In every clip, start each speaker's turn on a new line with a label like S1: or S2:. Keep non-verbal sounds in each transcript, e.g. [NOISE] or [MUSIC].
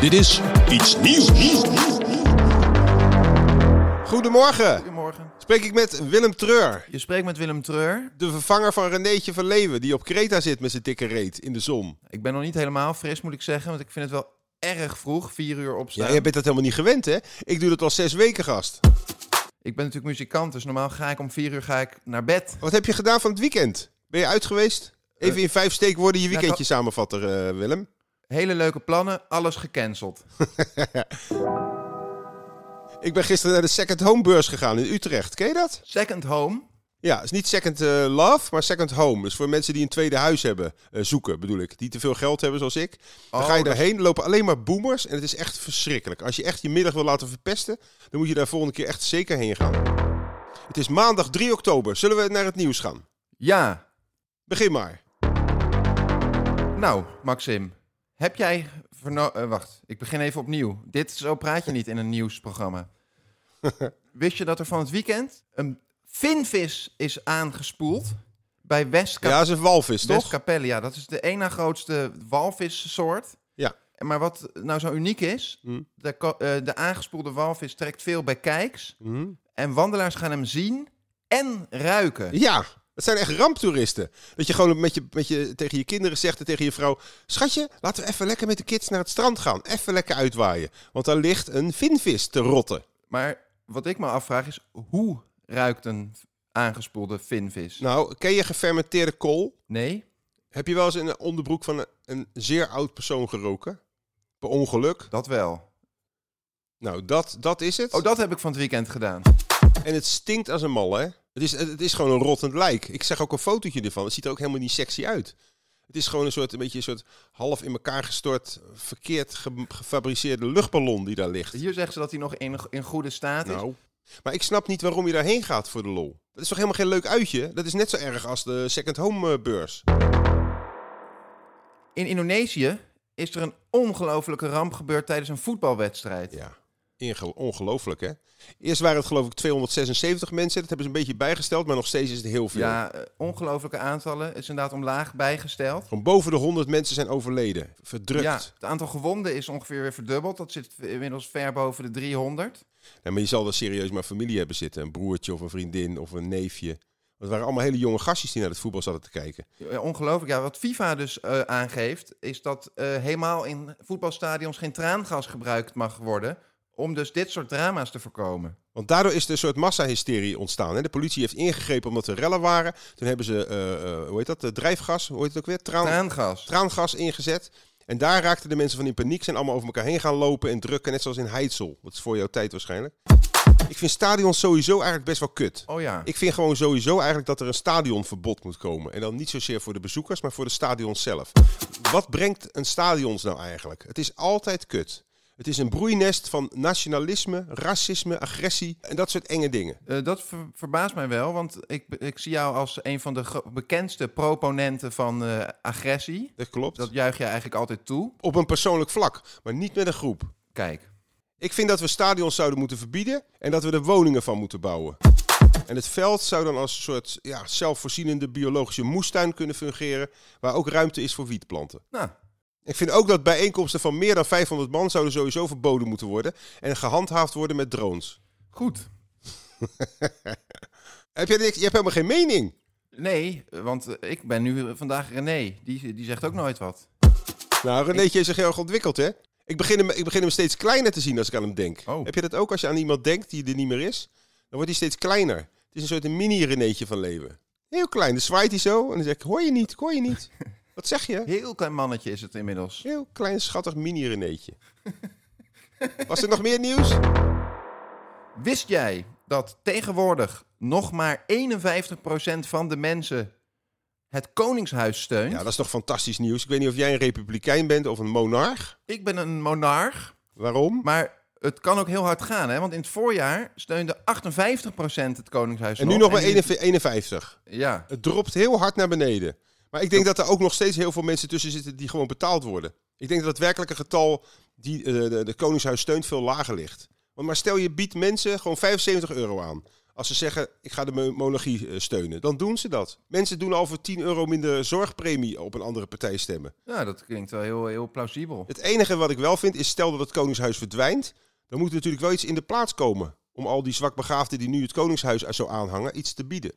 S1: Dit is iets nieuws. Goedemorgen.
S2: Goedemorgen.
S1: Spreek ik met Willem Treur,
S2: Je spreekt met Willem Treur.
S1: de vervanger van Renéetje van Leeuwen, die op Kreta zit met zijn dikke reet in de zon.
S2: Ik ben nog niet helemaal fris, moet ik zeggen, want ik vind het wel erg vroeg, vier uur opstaan.
S1: Ja, jij bent dat helemaal niet gewend, hè? Ik doe dat al zes weken, gast.
S2: Ik ben natuurlijk muzikant, dus normaal ga ik om vier uur ga ik naar bed.
S1: Wat heb je gedaan van het weekend? Ben je uit geweest? Even in vijf steekwoorden je weekendje
S2: dat-
S1: samenvatten, eh, Willem.
S2: Hele leuke plannen, alles gecanceld.
S1: Ik ben gisteren naar de Second Home Beurs gegaan in Utrecht. Ken je dat?
S2: Second home.
S1: Ja, het is niet Second eh, Love, maar Second Home. Dus voor mensen die een tweede huis hebben, eh, zoeken bedoel ik. Die te veel geld hebben zoals ik. Dan
S2: Oh,
S1: ga je
S2: dat-
S1: daarheen, lopen alleen maar boomers en het is echt verschrikkelijk. Als je echt je middag wil laten verpesten, dan moet je daar volgende keer echt zeker heen gaan. Het is maandag 3 oktober. Zullen we naar het nieuws gaan?
S2: Ja.
S1: Begin maar.
S2: Nou, Maxim, heb jij verno- eh, wacht, ik begin even opnieuw. Dit zo praat je niet in een
S1: [LAUGHS]
S2: nieuwsprogramma. Wist je dat er van het weekend een finvis is aangespoeld bij Westka
S1: Ja, dat is een walvis, toch?
S2: Westcapelle, ja, dat is de ene na grootste walvissoort.
S1: Ja.
S2: En Maar wat nou zo uniek is,
S1: Hmm.
S2: de, ko- eh, de aangespoelde walvis trekt veel bij kijks. En wandelaars gaan hem zien en ruiken.
S1: Hmm. Ja, dat zijn echt ramptoeristen. Dat je gewoon met je, met je, tegen je kinderen zegt en tegen je vrouw... Schatje, laten we even lekker met de kids naar het strand gaan. Even lekker uitwaaien. Want daar ligt een vinvis te rotten.
S2: Maar wat ik me afvraag is, hoe ruikt een aangespoelde vinvis?
S1: Nou, ken je gefermenteerde kool?
S2: Nee?
S1: Heb je wel eens in een onderbroek van een, een zeer oud persoon geroken? Per ongeluk?
S2: Dat wel.
S1: Nou, dat, dat is het.
S2: Oh, dat heb ik van het weekend gedaan.
S1: En het stinkt als een malle, hè? Het is, het is gewoon een rottend lijk. Ik zeg ook een fotootje ervan. Het ziet er ook helemaal niet sexy uit. Het is gewoon een soort, een beetje een soort half in elkaar gestort, verkeerd ge- gefabriceerde luchtballon die daar ligt.
S2: Hier zeggen ze dat hij nog in, in goede staat is.
S1: Nou. Maar ik snap niet waarom je daarheen gaat voor de lol. Dat is toch helemaal geen leuk uitje? Dat is net zo erg als de second home eh, beurs.
S2: In Indonesië is er een ongelofelijke ramp gebeurd tijdens een voetbalwedstrijd.
S1: Ja, inge- ongelooflijk hè. Eerst waren het geloof ik 276 mensen. Dat hebben ze een beetje bijgesteld, maar nog steeds is het heel veel.
S2: Ja, eh, ongelooflijke aantallen. Is inderdaad omlaag bijgesteld.
S1: Gewoon boven de 100 mensen zijn overleden. Verdrukt.
S2: Ja, het aantal gewonden is ongeveer weer verdubbeld. Dat zit inmiddels ver boven de 300.
S1: Nee, maar je zal er serieus maar familie hebben zitten. Een broertje of een vriendin of een neefje. Want het waren allemaal hele jonge gastjes die naar het voetbal zaten te kijken.
S2: Ja, Eh, ongelooflijk. Ja, wat FIFA dus eh, aangeeft, is dat eh, helemaal in voetbalstadions geen traangas gebruikt mag worden. Om dus dit soort drama's te voorkomen.
S1: Want daardoor is er een soort massahysterie ontstaan. Hè? De politie heeft ingegrepen omdat er rellen waren. Toen hebben ze, eh, eh, hoe heet dat, eh, drijfgas, hoe heet het ook weer? Traan,
S2: Traangas.
S1: traangas ingezet. En daar raakten de mensen van in paniek, zijn allemaal over elkaar heen gaan lopen en drukken, net zoals in Heidsel. Dat is voor jouw tijd waarschijnlijk. Ik vind stadions sowieso eigenlijk best wel kut.
S2: Oh ja.
S1: Ik vind gewoon sowieso eigenlijk dat er een stadionverbod moet komen. En dan niet zozeer voor de bezoekers, maar voor de stadions zelf. Wat brengt een stadions nou eigenlijk? Het is altijd kut. Het is een broeinest van nationalisme, racisme, agressie en dat soort enge dingen.
S2: Eh, dat ver- verbaast mij wel, want ik, ik zie jou als een van de gro- bekendste proponenten van eh, agressie.
S1: Dat klopt.
S2: Dat juich je eigenlijk altijd toe.
S1: Op een persoonlijk vlak, maar niet met een groep.
S2: Kijk,
S1: Ik vind dat we stadions zouden moeten verbieden en dat we er woningen van moeten bouwen. En het veld zou dan als een soort ja, zelfvoorzienende biologische moestuin kunnen fungeren, waar ook ruimte is voor wietplanten.
S2: nou,
S1: Ik vind ook dat bijeenkomsten van meer dan 500 man zouden sowieso verboden moeten worden en gehandhaafd worden met drones.
S2: goed.
S1: Heb jij niks, je hebt helemaal geen mening.
S2: Nee, want eh, ik ben nu vandaag René. Die, die zegt ook nooit wat.
S1: Nou, Renéetje is zich heel erg ontwikkeld, hè? Ik begin, hem, ik begin hem steeds kleiner te zien als ik aan hem denk.
S2: Oh.
S1: Heb je dat ook als je aan iemand denkt die er niet meer is? Dan wordt hij steeds kleiner. Het is een soort een mini-Renéetje van leven. Heel klein. Dan zwaait hij zo en dan zeg ik, hoor je niet, ik hoor je
S2: [LAUGHS]
S1: niet. Wat zeg je?
S2: Heel klein mannetje is het inmiddels.
S1: Heel klein, schattig mini-Renéetje. Was er nog meer
S2: [LAUGHS]
S1: nieuws?
S2: Wist jij dat tegenwoordig nog maar 51% van de mensen het Koningshuis steunt?
S1: Ja, dat is toch fantastisch nieuws. Ik weet niet of jij een republikein bent of een monarch.
S2: Ik ben een monarch,
S1: Waarom?
S2: maar het kan ook heel hard gaan. Hè? Want in het voorjaar steunde 58% het Koningshuis.
S1: En nu nog maar
S2: in-
S1: 51.
S2: Ja,
S1: Het dropt heel hard naar beneden. Maar ik denk dat er ook nog steeds heel veel mensen tussen zitten die gewoon betaald worden. Ik denk dat het werkelijke getal die eh, de, de Koningshuis steunt veel lager ligt. Want maar stel je biedt mensen gewoon 75 euro aan. Als ze zeggen, ik ga de mo- monarchie eh, steunen, dan doen ze dat. Mensen doen al voor 10 euro minder zorgpremie op een andere partij stemmen.
S2: ja, dat klinkt wel heel, heel plausibel.
S1: Het enige wat ik wel vind is, stel dat het Koningshuis verdwijnt, dan moet er natuurlijk wel iets in de plaats komen. Om al die zwakbegaafden die nu het Koningshuis zo aanhangen, iets te bieden.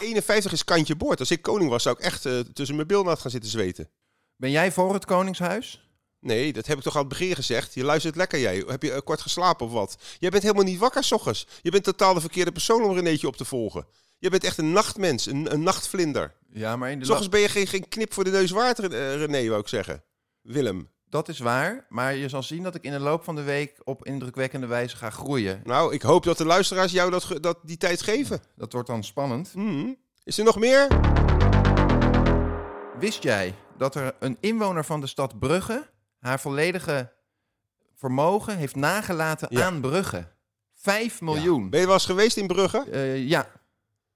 S1: 51 is kantje boord. Als ik koning was, zou ik echt eh, tussen mijn bilnaad gaan zitten zweten.
S2: Ben jij voor het Koningshuis?
S1: Nee, dat heb ik toch aan het begin gezegd. Je luistert lekker, jij. Heb je eh, kort geslapen of wat? Jij bent helemaal niet wakker, 's ochtends. Je bent totaal de verkeerde persoon om Renéetje op te volgen. Je bent echt een nachtmens, een, een nachtvlinder.
S2: Ja, maar in de
S1: 's ochtends ben je geen, geen knip voor de neus waard, eh, René, wou ik zeggen. Willem.
S2: Dat is waar, maar je zal zien dat ik in de loop van de week op indrukwekkende wijze ga groeien.
S1: Nou, ik hoop dat de luisteraars jou dat, ge- dat die tijd geven.
S2: Dat wordt dan spannend.
S1: Mhm. Is er nog meer?
S2: Wist jij dat er een inwoner van de stad Brugge haar volledige vermogen heeft nagelaten
S1: Ja.
S2: aan Brugge? Vijf miljoen. Ja,
S1: Ben je wel eens geweest in Brugge?
S2: ja.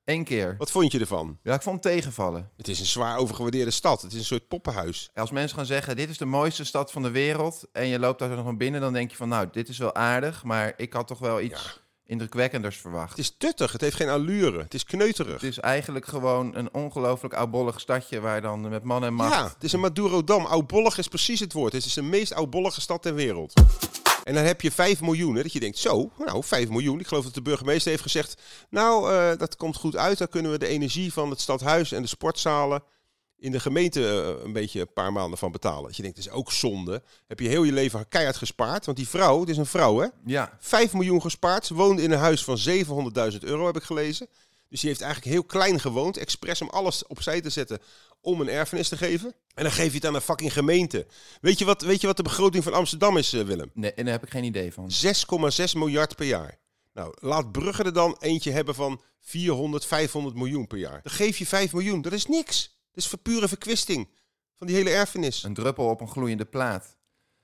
S2: één keer.
S1: Wat vond je ervan?
S2: Ja, ik vond het tegenvallen.
S1: Het is een zwaar overgewaardeerde stad. Het is een soort poppenhuis.
S2: Als mensen gaan zeggen, dit is de mooiste stad van de wereld... en je loopt daar nog naar binnen, dan denk je van... nou, dit is wel aardig, maar ik had toch wel iets indrukwekkenders verwacht.
S1: Het is tuttig. Het heeft geen allure. Het is kneuterig.
S2: Het is eigenlijk gewoon een ongelooflijk oudbollig stadje... waar dan met man en macht...
S1: Ja, het is een Madurodam. Oudbollig is precies het woord. Het is de meest oudbollige stad ter wereld. En dan heb je 5 miljoen. Hè, dat je denkt, zo, nou 5 miljoen. Ik geloof dat de burgemeester heeft gezegd, nou eh, dat komt goed uit. Dan kunnen we de energie van het stadhuis en de sportzalen in de gemeente eh, een beetje een paar maanden van betalen. Dat je denkt, dat is ook zonde. Heb je heel je leven keihard gespaard. Want die vrouw, het is een vrouw hè,
S2: Ja,
S1: 5 miljoen gespaard. Ze woonde in een huis van 700.000 euro, heb ik gelezen. Dus die heeft eigenlijk heel klein gewoond. Expres om alles opzij te zetten om een erfenis te geven. En dan geef je het aan een fucking gemeente. Weet je wat, weet je wat de begroting van Amsterdam is, eh, Willem?
S2: nee, en daar heb ik geen idee van.
S1: 6,6 miljard per jaar. Nou, laat Brugge er dan eentje hebben van 400, 500 miljoen per jaar. Dan geef je 5 miljoen. Dat is niks. Dat is voor pure verkwisting van die hele erfenis.
S2: Een druppel op een gloeiende plaat.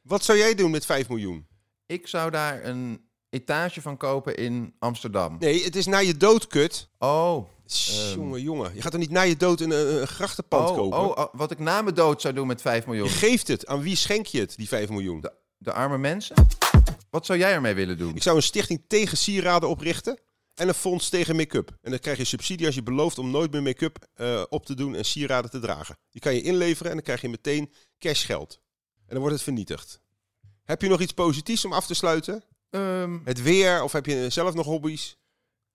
S1: Wat zou jij doen met 5 miljoen?
S2: Ik zou daar een etage van kopen in Amsterdam.
S1: Nee, het is na je dood, kut.
S2: Oh,
S1: Jongen, jongen. Je gaat er niet na je dood een, eh, een, een grachtenpand
S2: oh,
S1: kopen.
S2: oh, oh, wat ik na mijn dood zou doen met 5
S1: Je
S2: miljoen.
S1: geeft het. Aan wie schenk je het, die 5 miljoen?
S2: De, de arme mensen? Wat zou jij ermee willen doen?
S1: Ik zou een stichting tegen sieraden oprichten. En een fonds tegen make-up. En dan krijg je subsidie als je belooft om nooit meer make-up eh, op te doen en sieraden te dragen. Die kan je inleveren en dan krijg je meteen cashgeld. En dan wordt het vernietigd. Heb je nog iets positiefs om af te sluiten?
S2: Ehm,
S1: Het weer of heb je zelf nog hobby's?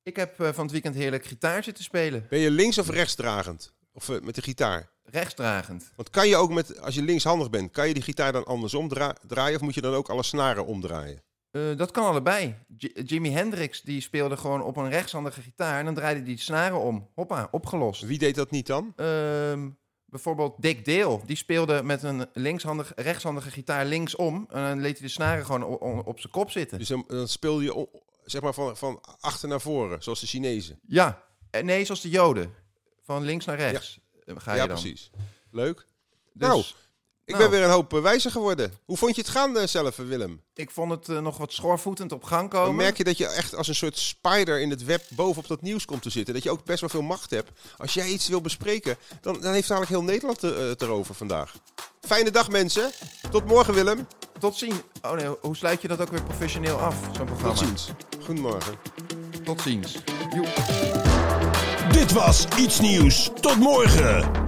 S2: ik heb eh, van het weekend heerlijk gitaar zitten spelen.
S1: Ben je links of rechtsdragend? Of eh, met de gitaar?
S2: Rechtsdragend.
S1: Want kan je ook met, als je linkshandig bent, kan je die gitaar dan andersom dra- draaien? Of moet je dan ook alle snaren omdraaien?
S2: Eh, dat kan allebei. J- Jimi Hendrix die speelde gewoon op een rechtshandige gitaar en dan draaide die snaren om. Hoppa, opgelost.
S1: Wie deed dat niet dan?
S2: Ehm, bijvoorbeeld Dick Dale, die speelde met een linkshandig, rechtshandige gitaar linksom. En dan liet hij de snaren gewoon o- o- op zijn kop zitten.
S1: Dus dan, dan speel je o- zeg maar van, van achter naar voren, zoals de Chinezen.
S2: Ja, Eh, nee, zoals de Joden. Van links naar rechts eh, ga je
S1: ja,
S2: dan.
S1: precies. Leuk.
S2: Dus
S1: Nou, Ik
S2: Nou.
S1: ben weer een hoop eh, wijzer geworden. Hoe vond je het gaan eh, zelf, eh, Willem?
S2: ik vond het eh, nog wat schoorvoetend op gang komen.
S1: Dan merk je dat je echt als een soort spider in het web bovenop dat nieuws komt te zitten. Dat je ook best wel veel macht hebt. Als jij iets wil bespreken, dan, dan heeft eigenlijk heel Nederland er- eh, het erover vandaag. Fijne dag mensen. Tot morgen Willem.
S2: Tot zien. Oh nee, hoe sluit je dat ook weer professioneel af, zo'n programma?
S1: Tot ziens. Goedemorgen.
S2: Tot ziens. Joep.
S3: Dit was Iets Nieuws. Tot morgen.